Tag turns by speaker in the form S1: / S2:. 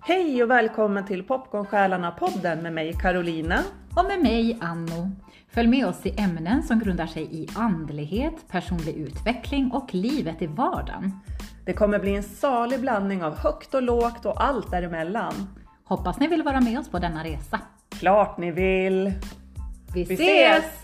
S1: Hej och välkommen till Popcornsjälarna-podden med mig Carolina.
S2: Och med mig Anno. Följ med oss i ämnen som grundar sig i andlighet, personlig utveckling och livet i vardagen.
S1: Det kommer bli en salig blandning av högt och lågt och allt däremellan.
S2: Hoppas ni vill vara med oss på denna resa.
S1: Klart ni vill!
S2: Vi,
S1: ses!